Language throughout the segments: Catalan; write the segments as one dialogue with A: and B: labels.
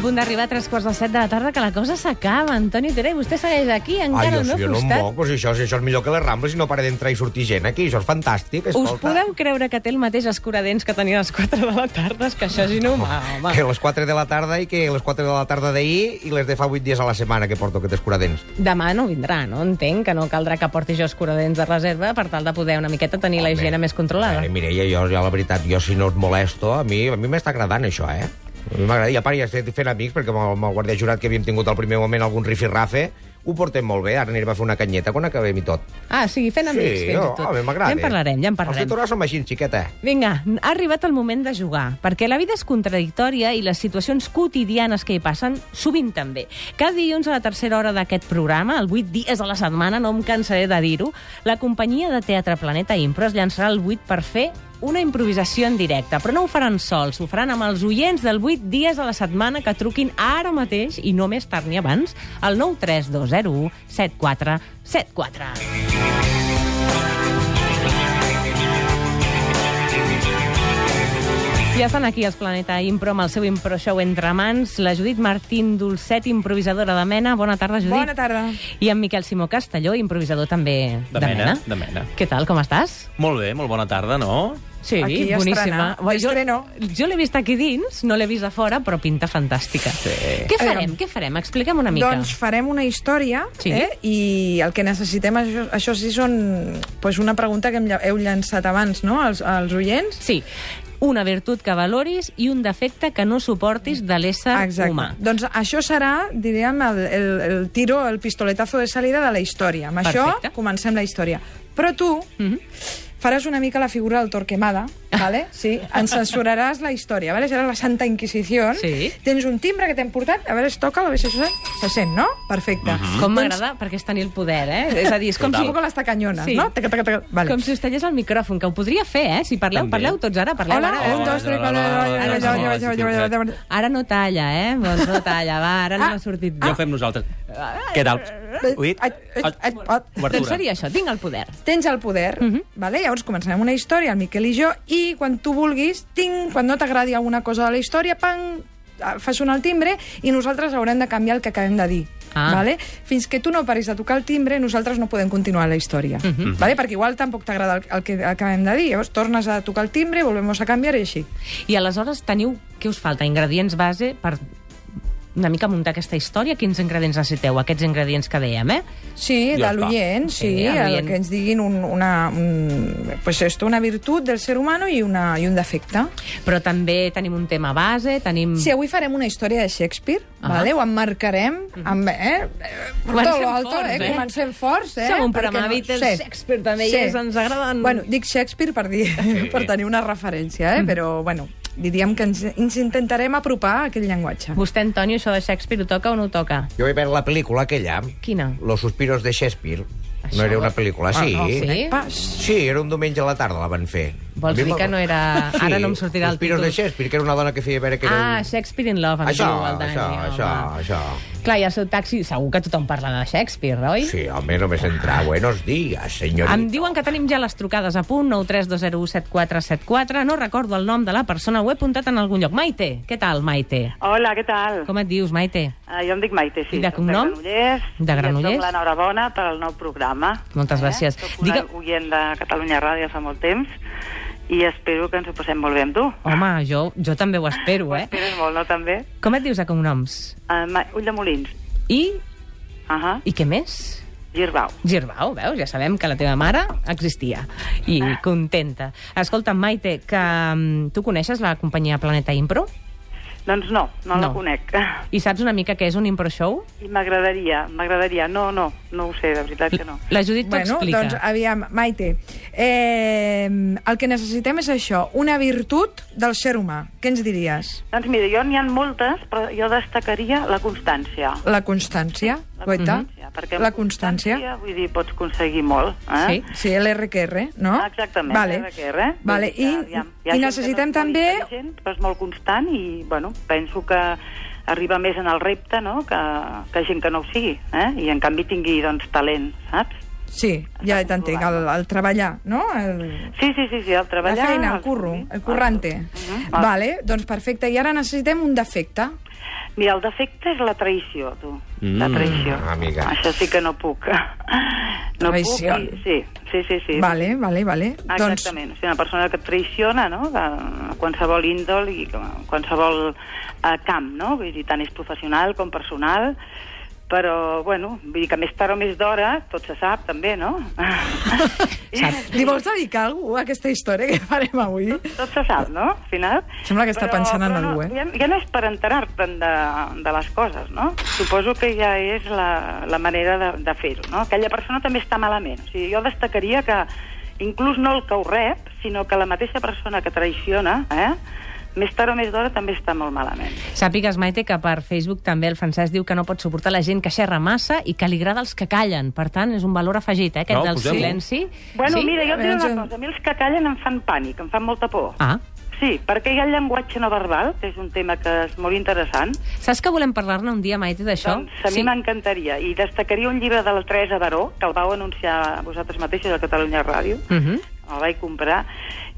A: punt d'arribar a tres quarts de set de la tarda que la cosa s'acaba, Antoni Tere, i vostè segueix aquí, encara
B: Ai,
A: al
B: jo,
A: meu
B: jo no em
A: costat.
B: moc, o sigui, això, és- això és millor que les Rambles i no para d'entrar i sortir gent aquí, això és fantàstic, escolta.
A: Us podeu creure que té el mateix escuradents que tenia a les 4 de la tarda? És que això és inhumà, Ah, home.
B: Que a les 4 de la tarda i que a les 4 de la tarda d'ahir i les de fa 8 dies a la setmana que porto aquest escuradents.
A: Demà no vindrà, no? Entenc que no caldrà que porti jo escuradents de reserva per tal de poder una miqueta tenir la higiene més controlada.
B: Veure, Mireia, jo, jo la veritat, jo si no et molesto, a mi a mi m'està agradant això, eh? A mi m'agrada, i a part ja estic fent amics, perquè amb el, amb el guàrdia jurat que havíem tingut al primer moment algun rifirrafe, ho portem molt bé, ara anirem a fer una canyeta quan acabem i tot.
A: Ah, sí, fent amics, fins i
B: no,
A: tot.
B: home, m'agrada.
A: Ja en parlarem, ja en
B: Els
A: parlarem.
B: tutorats som així, xiqueta.
A: Vinga, ha arribat el moment de jugar, perquè la vida és contradictòria i les situacions quotidianes que hi passen sovint també. Cada dilluns a la tercera hora d'aquest programa, el 8 dies de la setmana, no em cansaré de dir-ho, la companyia de Teatre Planeta Impro es llançarà el 8 per fer una improvisació en directe, però no ho faran sols, ho faran amb els oients del 8 dies de la setmana que truquin ara mateix i no més tard ni abans al 93201 7474. Ja estan aquí els Planeta Impro amb el seu Impro Show entre mans. La Judit Martín Dolcet, improvisadora de Mena. Bona tarda, Judit.
C: Bona tarda.
A: I en Miquel Simó Castelló, improvisador també de,
D: De mena, de mena.
A: Què tal, com estàs?
D: Molt bé, molt bona tarda, no?
A: Sí,
C: Aquí ja
A: boníssima.
C: estrena.
A: Bé, Jo,
C: Estreno.
A: jo l'he vist aquí dins, no l'he vist a fora, però pinta fantàstica. Sí. Què farem?
C: Aviam.
A: Què farem? Explica'm una mica.
C: Doncs farem una història
A: Sí.
C: eh? i el que necessitem, això, això sí, són pues, una pregunta que hem lla- heu llançat abans no? als, als oients.
A: Sí, una virtut que valoris i un defecte que no suportis de l'ésser humà.
C: Doncs això serà, diríem, el, el, el tiro, el pistoletazo de salida de la història. Amb
A: Perfecte.
C: això comencem la història. Però tu
A: Mhm.
C: faràs una mica la figura del Torquemada, vale? sí, ens censuraràs la història, vale? serà la Santa Inquisició.
A: Sí.
C: Tens un timbre que t'hem portat, a veure, es toca, a veure si això se sent, no? Perfecte.
A: Com
C: Doncs
A: m'agrada, perquè és tenir el poder, eh? És a dir, és com
C: Com si
A: si...
C: fos con las tacañonas,
A: Sí.
C: no? Taca, taca, taca. Vale.
A: Com si us tallés el micròfon, que ho podria fer, eh? Si parleu,
D: També.
A: parleu tots ara, parleu
C: Hola,
A: ara. eh?
C: un, dos, tres,
D: Hola,
C: quatre,
D: hola,
C: hola,
D: hola,
C: hola, hola,
D: hola,
C: hola, hola, hola, hola, hola.
A: Ara no talla, eh? Doncs no talla, va, ara no
C: Ah,
A: ha sortit
D: Ja
A: bé.
D: ho fem nosaltres. Què tal? Huit? Ah,
C: Ai, ai, ai, ai.
A: Doncs seria això, tinc el poder.
C: Tens el poder,
A: Mhm.
C: vale? llavors començarem una història, el Miquel i jo, i quan tu vulguis, tinc, quan no t'agradi alguna cosa de la història, pam, ah, fa sonar el timbre i nosaltres haurem de canviar el que acabem de dir.
A: Ah.
C: Vale? Fins que tu no paris de tocar el timbre, nosaltres no podem continuar la història.
A: Mhm.
C: vale? Perquè igual tampoc t'agrada el, el que acabem de dir. Llavors tornes a tocar el timbre, volvemos a canviar i així.
A: I aleshores teniu... Què us falta? Ingredients base per una mica muntar aquesta història? Quins ingredients necessiteu? Aquests ingredients que dèiem, eh?
C: Sí,
D: Ja
C: de
D: està.
C: l'oient, sí,
A: Sí, a l'oient.
C: el que ens diguin un, una, un, pues esto, una virtut del ser humano i, una, i un defecte.
A: Però també tenim un tema base, tenim...
C: Sí, avui farem una història de Shakespeare,
A: Ah. Mm-hmm.
C: vale? ho emmarcarem amb... Eh?
A: Comencem
C: Tot lo alto,
A: forts, eh?
C: Comencem forts, eh?
A: Som un
C: Perquè
A: programa Beatles, Shakespeare també hi és, ens agraden.
C: Bueno, dic Shakespeare per, dir, per tenir una referència,
A: Mm.
C: eh? però bueno, diríem que ens, ens intentarem apropar a aquell llenguatge.
A: Vostè, Antoni, això de Shakespeare ho toca o no ho toca?
B: Jo vaig veure la pel·lícula aquella,
A: Quina?
B: Los suspiros de Shakespeare.
A: Això- Ah,
B: No era una pel·lícula, sí. Eh?
C: no,
A: sí.
C: conec Pas.
B: Sí, era un diumenge a la tarda la van fer.
A: Vols
B: A mi
A: dir que
B: m'agrada.
A: no era- ara no em sortirà el
B: Suspiros
A: títol.
B: de Shakespeare, que era una dona que feia veure que era...
A: Ah,
B: un-
A: Shakespeare in Love, em
B: Això,
A: diu el Dani.
B: això,
A: eh, home.
B: això, això.
A: Clar, i el seu taxi, segur que tothom parla de Shakespeare, oi?
B: Sí, home, només entrar. Buenos días, senyorita.
A: Em diuen que tenim ja les trucades a punt, 932017474. No recordo el nom de la persona, ho he apuntat en algun lloc. Maite, què tal, Maite?
E: Hola, què tal? Com...
A: Com et dius, Maite?
E: Uh, jo em dic Maite, sí.
A: I de
E: soc
A: cognom?
E: De Granollers.
A: De Granollers.
E: I et dono l'enhorabona per al nou programa. eh?
A: Moltes gràcies.
E: Soc una
A: Digue-
E: oient de Catalunya Ràdio fa molt temps i espero que ens ho passem molt bé amb tu.
A: Home, jo, jo també ho espero,
E: Ho
A: eh?
E: esperes molt, no, també?
A: Com et dius a cognoms?
E: Uh, Ma... Ull de Molins.
A: I,
E: Uh -huh.
A: i què més?
E: Girbau.
A: Girbau, veus? Ja sabem que la teva mare existia. I contenta. Escolta, Maite, que mm, tu coneixes la companyia Planeta Impro?
E: Doncs no, no,
A: No.
E: la conec.
A: I saps una mica què és un impro show?
E: I m'agradaria, m'agradaria. No, no, no ho sé, de veritat que no.
A: La Judit t'ho
C: Bueno,
A: explica.
C: doncs aviam, Maite, eh, el que necessitem és això, una virtut del ser humà. Què ens diries?
E: Doncs mira, jo n'hi ha moltes, però jo destacaria la constància.
C: La constància,
E: La
C: guaita.
E: constància, perquè amb
C: La constància.
E: Vull dir, pots aconseguir molt. Eh?
A: Sí.
C: Sí, l'RQR, no?
E: Ah, Exactament,
C: Ah? vale.
E: l'RQR.
C: Vale.
E: eh? Vull
C: I,
E: dir que, aviam, hi ha
C: i
E: gent
C: necessitem
E: que no és
C: també...
E: Molt intel·ligent, però és molt constant i, bueno, penso que arriba més en el repte no? que, que gent que no ho sigui, eh? i en canvi tingui doncs, talent, saps?
C: Sí, ja t'entenc, el, el treballar, no? El,
E: Sí, sí, sí, sí
C: la
E: el treballar...
C: feina, el curro, el currante.
E: Uh -huh.
C: Vale, doncs perfecte. I ara necessitem un defecte.
E: Ah, Mira, el defecte és la traïció, tu. Mm. La
D: Mm.
E: traïció.
B: Ah, amiga.
E: Això sí que no puc. No
C: Traïció.
E: puc. i- Sí, sí, sí. sí.
C: Vale, vale, vale. Doncs,
E: Exactament, o sigui, una persona que et traïciona, no?, de qualsevol índol i qualsevol eh, camp, no?, vull dir, tant és professional com personal, però, bueno, vull dir que més tard o més d'hora tot se sap, també, no?
C: Doncs, li vols dedicar a algú a aquesta història que farem avui?
E: Tot se sap, no?, al final.
C: Sembla que està pensant en
E: però
C: algú, eh?
E: Ja, ja no és per enterar-te'n de, de les coses, no? Suposo que ja és la, la manera de, de fer-ho, no? Aquella persona també està malament. O sigui, jo destacaria que inclús no el que ho rep, sinó que la mateixa persona que traïciona, eh? més tard o més d'hora també està molt malament.
A: Sàpigues, Maite, que per Facebook també el Francesc diu que no pot suportar la gent que xerra massa i que li agrada els que callen. Per tant, és un valor afegit, eh, aquest
D: No,
A: del
D: posem-ho.
A: silenci.
E: Bueno,
A: sí?
E: mira, jo et diré
C: Abans
E: una
C: em-
E: cosa. A mi els que callen em fan pànic, em fan molta por.
A: Ah,
E: Sí, perquè hi ha el llenguatge no verbal, que és un tema que és molt interessant,
A: saps que volem parlar-ne un dia, Maite, d'això?
E: Doncs a mi m'encantaria. I destacaria un llibre de la Teresa Baró, que el vau anunciar vosaltres mateixos a Catalunya Ràdio.
A: Mhm.
E: El vaig comprar.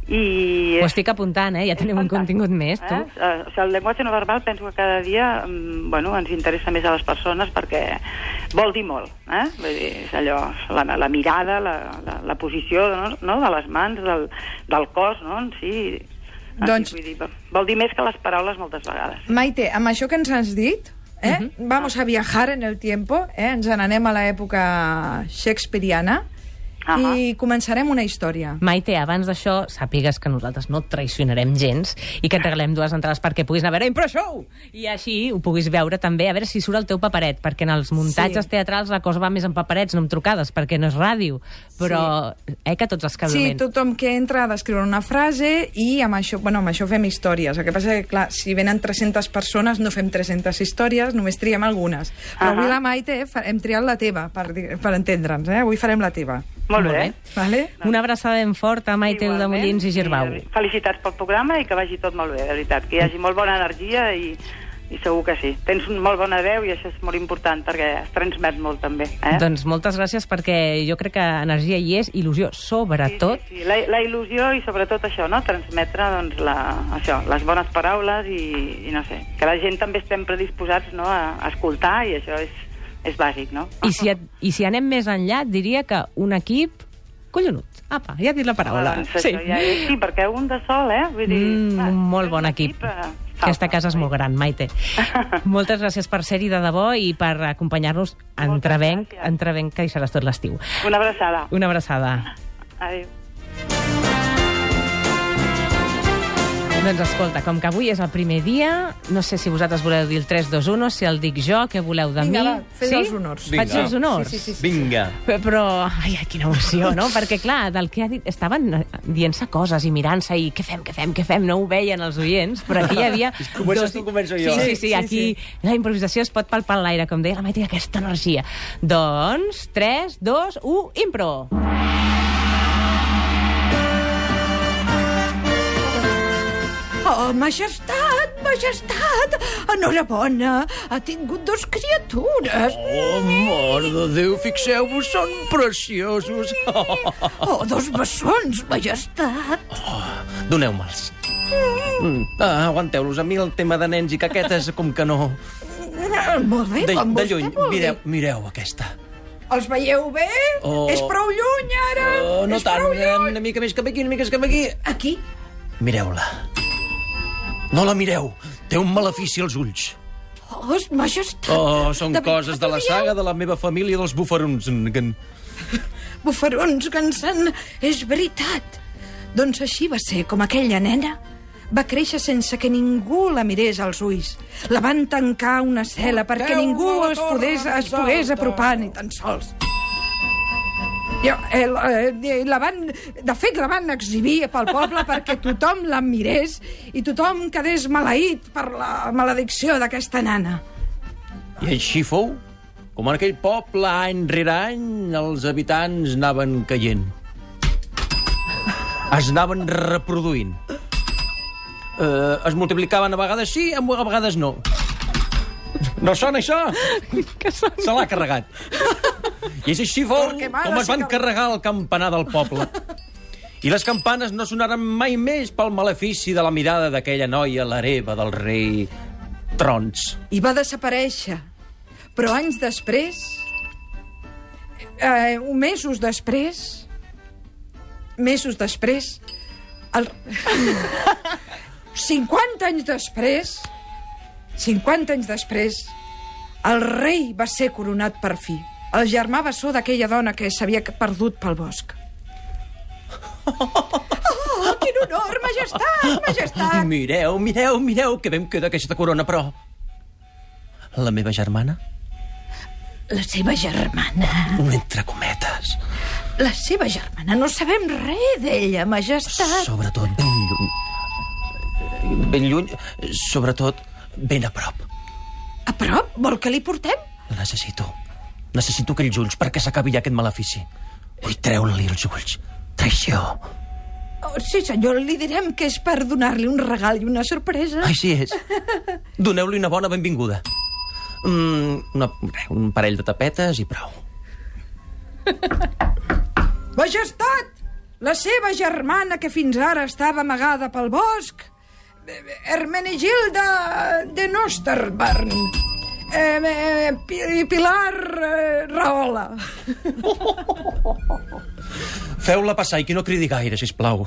E: I...
A: Ho estic apuntant, eh? Ja tenim un
E: Fantàstic,
A: contingut més, tu.
E: Eh? Eh, O sigui, el llenguatge no verbal penso que cada dia mm, bueno, ens interessa més a les persones perquè vol dir molt. Eh? Vull dir, és allò, la, la mirada, la, la, la posició no? no? de les mans, del, del cos, no? en si... en si,
C: Doncs-
E: Vull dir, vol dir més que les paraules moltes vegades.
C: Maite, amb això que ens has dit, eh?
E: Mhm.
C: vamos a viajar en el tiempo, eh? ens n'anem a l'època shakespeariana
E: Ahà.
C: i començarem una història.
A: Maite, abans d'això, sàpigues que nosaltres no et traicionarem gens i que et regalem dues entrades perquè puguis anar a veure Impro Show! I així ho puguis veure també, a veure si surt el teu paperet, perquè en els muntatges
C: Sí.
A: teatrals la cosa va més en paperets, no en trucades, perquè no és ràdio. Però, eh, que tots els que
C: Sí,
A: donem.
C: tothom que entra ha d'escriure una frase i amb això, bueno, amb això fem històries. El que passa que, clar, si venen 300 persones no fem 300 històries, només triem algunes. Però
E: Ahà.
C: avui la Maite eh, fa- hem triat la teva, per, dir- per entendre'ns. Eh? Avui farem la teva.
E: Molt,
A: Molt
E: bé.
A: bé.
C: Vale?
A: Una abraçada ben forta, Maite de
E: Igualment,
A: Mollins i Girbau.
E: de- Felicitats pel programa i que vagi tot molt bé, de veritat. Que hi hagi molt bona energia i, i segur que sí. Tens un molt bona veu i això és molt important perquè es transmet molt també. Eh?
A: Doncs moltes gràcies perquè jo crec que energia hi és, il·lusió sobretot.
E: Sí, sí, sí. La, la il·lusió i sobretot això, no? transmetre doncs, la, això, les bones paraules i, i no sé, que la gent també estem predisposats no? a, a escoltar i això és, és bàsic, no?
A: I si, et, I si anem més enllà, et diria que un equip collonut. Apa, ja he dit la paraula.
E: Doncs això Ja és, sí, perquè un de sol, eh? Vull dir,
A: Mm,
E: clar,
A: un molt
E: un
A: bon equip.
E: eh,
A: Aquesta
E: falta,
A: casa és
E: no?
A: molt gran, Maite. Moltes gràcies per ser-hi de debò i per acompanyar-nos a
E: Moltes
A: entrevenc,
E: gràcies.
A: entrevenc que hi seràs tot l'estiu.
E: Una abraçada.
A: Una abraçada.
E: Adéu.
A: Doncs escolta, com que avui és el primer dia, no sé si vosaltres voleu dir el 3-2-1, si el dic jo, què voleu de
C: Vinga,
A: mi.
C: va, fes els honors.
A: Vinga. Faig
D: Vinga.
A: els honors?
C: Sí, sí, sí, sí.
D: Vinga.
A: Pe- Però, ai, ai, quina emoció, no? Perquè, clar, del que ha dit... Estaven eh, dient-se coses i mirant-se i què fem, què fem, què fem? No ho veien els oients, però aquí hi havia...
D: Comences tu, començo jo.
A: Sí, sí, sí, aquí la improvisació es pot palpar en l'aire, com deia la Maite, aquesta energia. Doncs, 3, 2, 1, impro!
C: Oh, majestat, majestat, enhorabona, ha tingut dos criatures.
D: Oh, mort de Déu, fixeu-vos, són preciosos.
C: Oh, dos bessons, majestat.
D: Doneu-me'ls. Mm. Ah, Aguanteu-los. A mi el tema de nens i caquetes, com que no...
C: Molt bé,
D: De,
C: com
D: de
C: vostè
D: lluny.
C: vulgui.
D: Mireu, mireu aquesta.
C: Els veieu bé?
D: Oh.
C: És prou lluny, ara.
D: Oh, no
C: Ah, És
D: tant,
C: prou lluny.
D: una mica més cap aquí, una mica més cap aquí.
C: Aquí?
D: Mireu-la. No la mireu. Té un malefici als ulls.
C: Oh, és majestat.
D: Oh, són
C: David,
D: coses de la
C: David,
D: saga de la meva família dels bufarons.
C: Bufarons cansant, és veritat. Doncs així va ser com aquella nena va créixer sense que ningú la mirés als ulls. La van tancar a una cel·la perquè
D: Déu,
C: ningú
D: no la
C: es pogués,
D: torna,
C: es pogués
D: salta.
C: apropar ni tan sols. Jo, eh, la, eh, la van, de fet, la van exhibir pel poble perquè tothom la mirés i tothom quedés maleït per la maledicció d'aquesta nana.
D: I així fou. Com en aquell poble, any rere any, els habitants anaven caient. Es anaven reproduint. Eh, es multiplicaven a vegades sí, a vegades no. No sona això?
A: Que són...
D: Se l'ha carregat. I és així fou
C: Torquemada
D: com es
C: sí
D: van
C: que-
D: carregar el campanar del poble. I les campanes no sonaran mai més pel malefici de la mirada d'aquella noia, l'hereva del rei trons.
C: i va desaparèixer. Però anys després, eh, un mesos després, mesos després, el... 50 anys després, 50 anys després, el rei va ser coronat per fi. El germà bessó d'aquella dona que s'havia perdut pel bosc. Oh, quin honor, majestat, majestat!
D: Mireu, mireu, mireu, que bé em queda aquesta corona, però... La meva germana,
C: La seva germana...
D: entre cometes,
C: La seva germana, no sabem res d'ella, majestat.
D: sobretot ben lluny... Ben lluny, sobretot ben a prop.
C: A prop? Vol que li portem?
D: La necessito. Necessito aquells ulls perquè s'acabi ja aquest malefici. Vull treure-li els ulls. Traïció.
C: Oh, sí, senyor, li direm que és per donar-li un regal i una sorpresa.
D: Així és. Doneu-li una bona benvinguda. Mm, una, re, un parell de tapetes i prou.
C: Majestat! La seva germana, que fins ara estava amagada pel bosc, eh, Hermenegilda de Nosterbarn, eh, eh, Pi- Pilar eh, Rahola.
D: Feu-la passar i que no cridi gaire, si plau.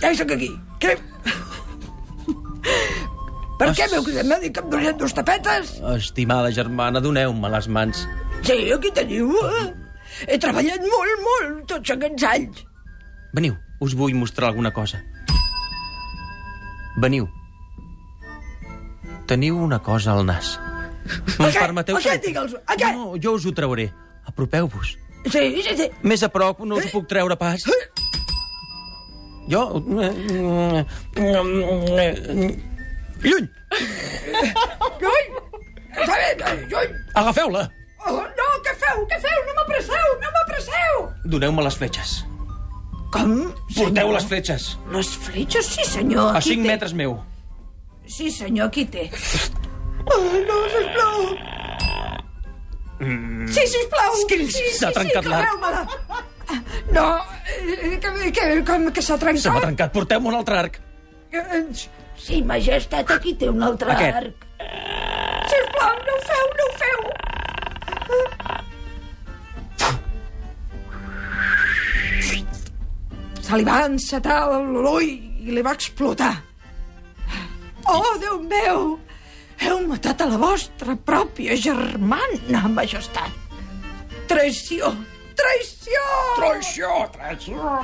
C: Ja hi soc aquí. Què? Per què m'heu cridat? M'ha dit que em donarien dos tapetes?
D: Estimada germana, doneu-me les mans.
C: Sí, aquí teniu. eh? He treballat molt, molt, tots aquests anys.
D: Veniu, us vull mostrar alguna cosa. Veniu. Teniu una cosa al nas. Em
C: Aquest,
D: permeteu...
C: aquest, digue'ls, aquest.
D: No, no, jo us ho trauré. Apropeu-vos.
C: Sí, sí, sí.
D: Més a prop no
C: Eh?
D: us ho puc treure pas. Jo... Lluny!
C: Llull! Està bé, llull!
D: Agafeu-la!
C: Oh, no, què feu, què feu? No m'apresseu, no m'apresseu!
D: Doneu-me les fletxes.
C: Com?
D: Porteu les fletxes.
C: Les fletxes, sí, senyor.
D: A
C: aquí
D: 5
C: té.
D: metres meu.
C: Sí, senyor, aquí té. Oh, no, sisplau. Sí, sisplau. És que sí,
D: Mm. s'ha trencat
C: sí,
D: l'arc.
C: l'arc. No, eh, que, que, com que s'ha trencat?
D: Se m'ha trencat. Porteu-me un altre arc.
C: trencat.
F: Sí, majestat, aquí té un altre
D: Aquest.
F: arc.
C: Sisplau, no ho feu, no ho feu. Se li va encetar l'ull i li va explotar. Oh, Déu meu! Heu matat a la vostra pròpia germana, majestat. Traïció! Traïció! Traïció!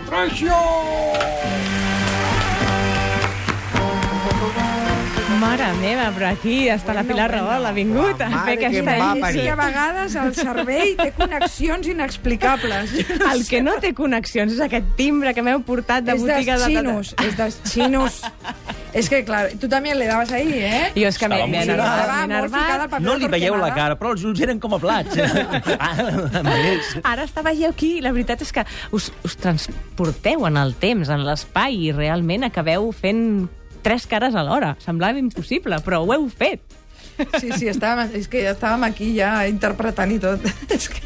A: Mare meva, però aquí està la Pilar Rahola, ha vingut a
B: Mare
A: fer
B: que em
A: aquesta
B: va
A: lliçó.
B: parir.
C: Que a vegades el cervell té connexions inexplicables.
A: El que no té connexions és aquest timbre que m'heu portat de
C: és
A: botiga
C: dels
A: de...
C: xinos, és dels xinos. és que, clar, tu també le dabas ahí, eh?
A: Jo és que m'he
D: Estava
A: m'he
D: emocionada.
A: enervat,
C: Estava
A: m'he
C: molt ficada al
A: enervat.
C: paper
D: No
C: de
D: li veieu la
C: Torquemada.
D: cara, però els ulls eren com a plats. Ah, a més.
A: Ara estava jo aquí i la veritat és que us, us transporteu en el temps, en l'espai, i realment acabeu fent tres cares alhora. Semblava impossible, però ho heu fet.
C: Sí, sí, estàvem, és que ja estàvem aquí ja interpretant i tot. És que...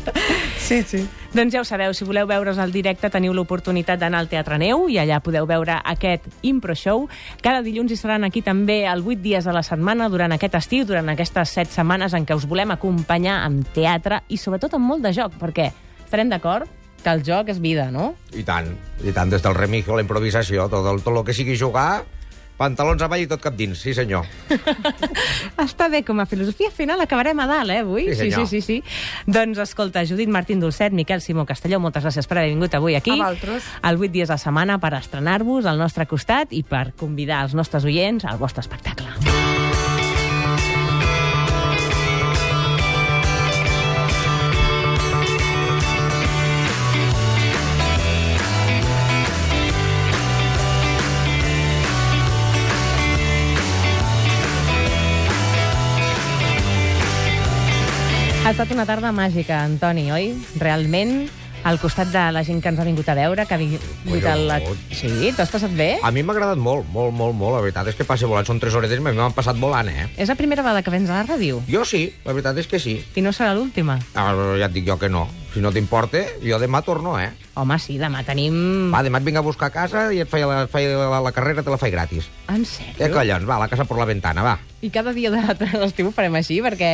C: Sí, sí.
A: Doncs ja ho sabeu, si voleu veure's al directe teniu l'oportunitat d'anar al Teatre Neu i allà podeu veure aquest Impro Show. Cada dilluns hi seran aquí també el 8 dies de la setmana durant aquest estiu, durant aquestes 7 setmanes en què us volem acompanyar amb teatre i sobretot amb molt de joc, perquè estarem d'acord que el joc és vida, no?
B: I tant, i tant, des del remix a la improvisació, tot el, tot el que sigui jugar, pantalons avall i tot cap dins, sí senyor.
A: Està bé, com a filosofia final acabarem a dalt, eh, avui?
B: Sí, senyor.
A: sí, sí, sí. Doncs escolta, Judit Martín Dolcet, Miquel Simó Castelló, moltes gràcies per haver vingut avui aquí.
C: A vosaltres.
A: El 8 dies a la setmana per estrenar-vos al nostre costat i per convidar els nostres oients al vostre espectacle. Ha estat una tarda màgica, Antoni, oi? Realment, al costat de la gent que ens ha vingut a veure, que ha vingut a la...
B: Collons.
A: Sí, t'ho has passat bé?
B: A mi m'ha agradat molt, molt, molt, molt, la veritat és que passa volant, són 3 horetes, m'han passat volant, eh?
A: És la primera vegada que vens a la ràdio
B: Jo sí, la veritat és que sí.
A: i no serà l'última.
B: Ah, ja et dic jo que no. Si no t'importa, jo demà torno, eh?
A: Home, sí, demà tenim...
B: Va, demà et vinc a buscar a casa i et faig la, faig la, la carrera, te la faig gratis.
A: En
B: Què
A: sèrio?
B: collons? Va, la casa per la ventana, va.
A: I cada dia de de l'estiu ho farem així, perquè...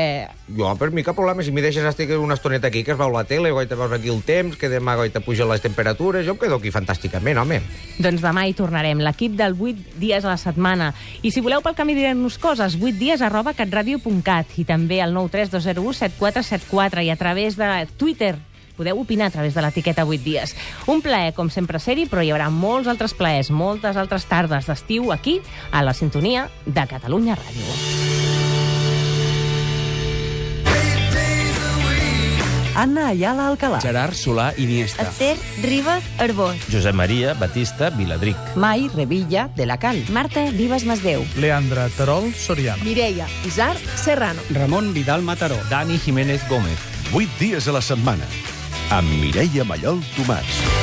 B: Jo, per mi, cap problema. Si m'hi deixes estic una estoneta aquí, que es veu la tele, goita veus aquí el temps, que demà goita puja les temperatures, jo em quedo aquí fantàsticament, home.
A: Doncs demà hi tornarem, l'equip del 8 dies a la setmana. I si voleu pel camí dir-nos coses, 8 dies arroba catradio.cat i també al 932017474 i a través de Twitter podeu opinar a través de l'etiqueta 8 dies. Un plaer, com sempre, ser-hi, però hi haurà molts altres plaers, moltes altres tardes d'estiu aquí, a la sintonia de Catalunya Ràdio.
G: Anna Ayala Alcalà.
D: Gerard Solà Iniesta.
H: Esther Ribas Arbós.
I: Josep Maria Batista Viladric.
G: Mai Revilla de la Cal.
H: Marta Ribas Masdeu.
J: Leandra Terol Soriano.
G: Mireia Isar Serrano.
D: Ramon Vidal Mataró.
I: Dani Jiménez Gómez.
K: 8 dies a la setmana amb Mireia Mallol Tomàs.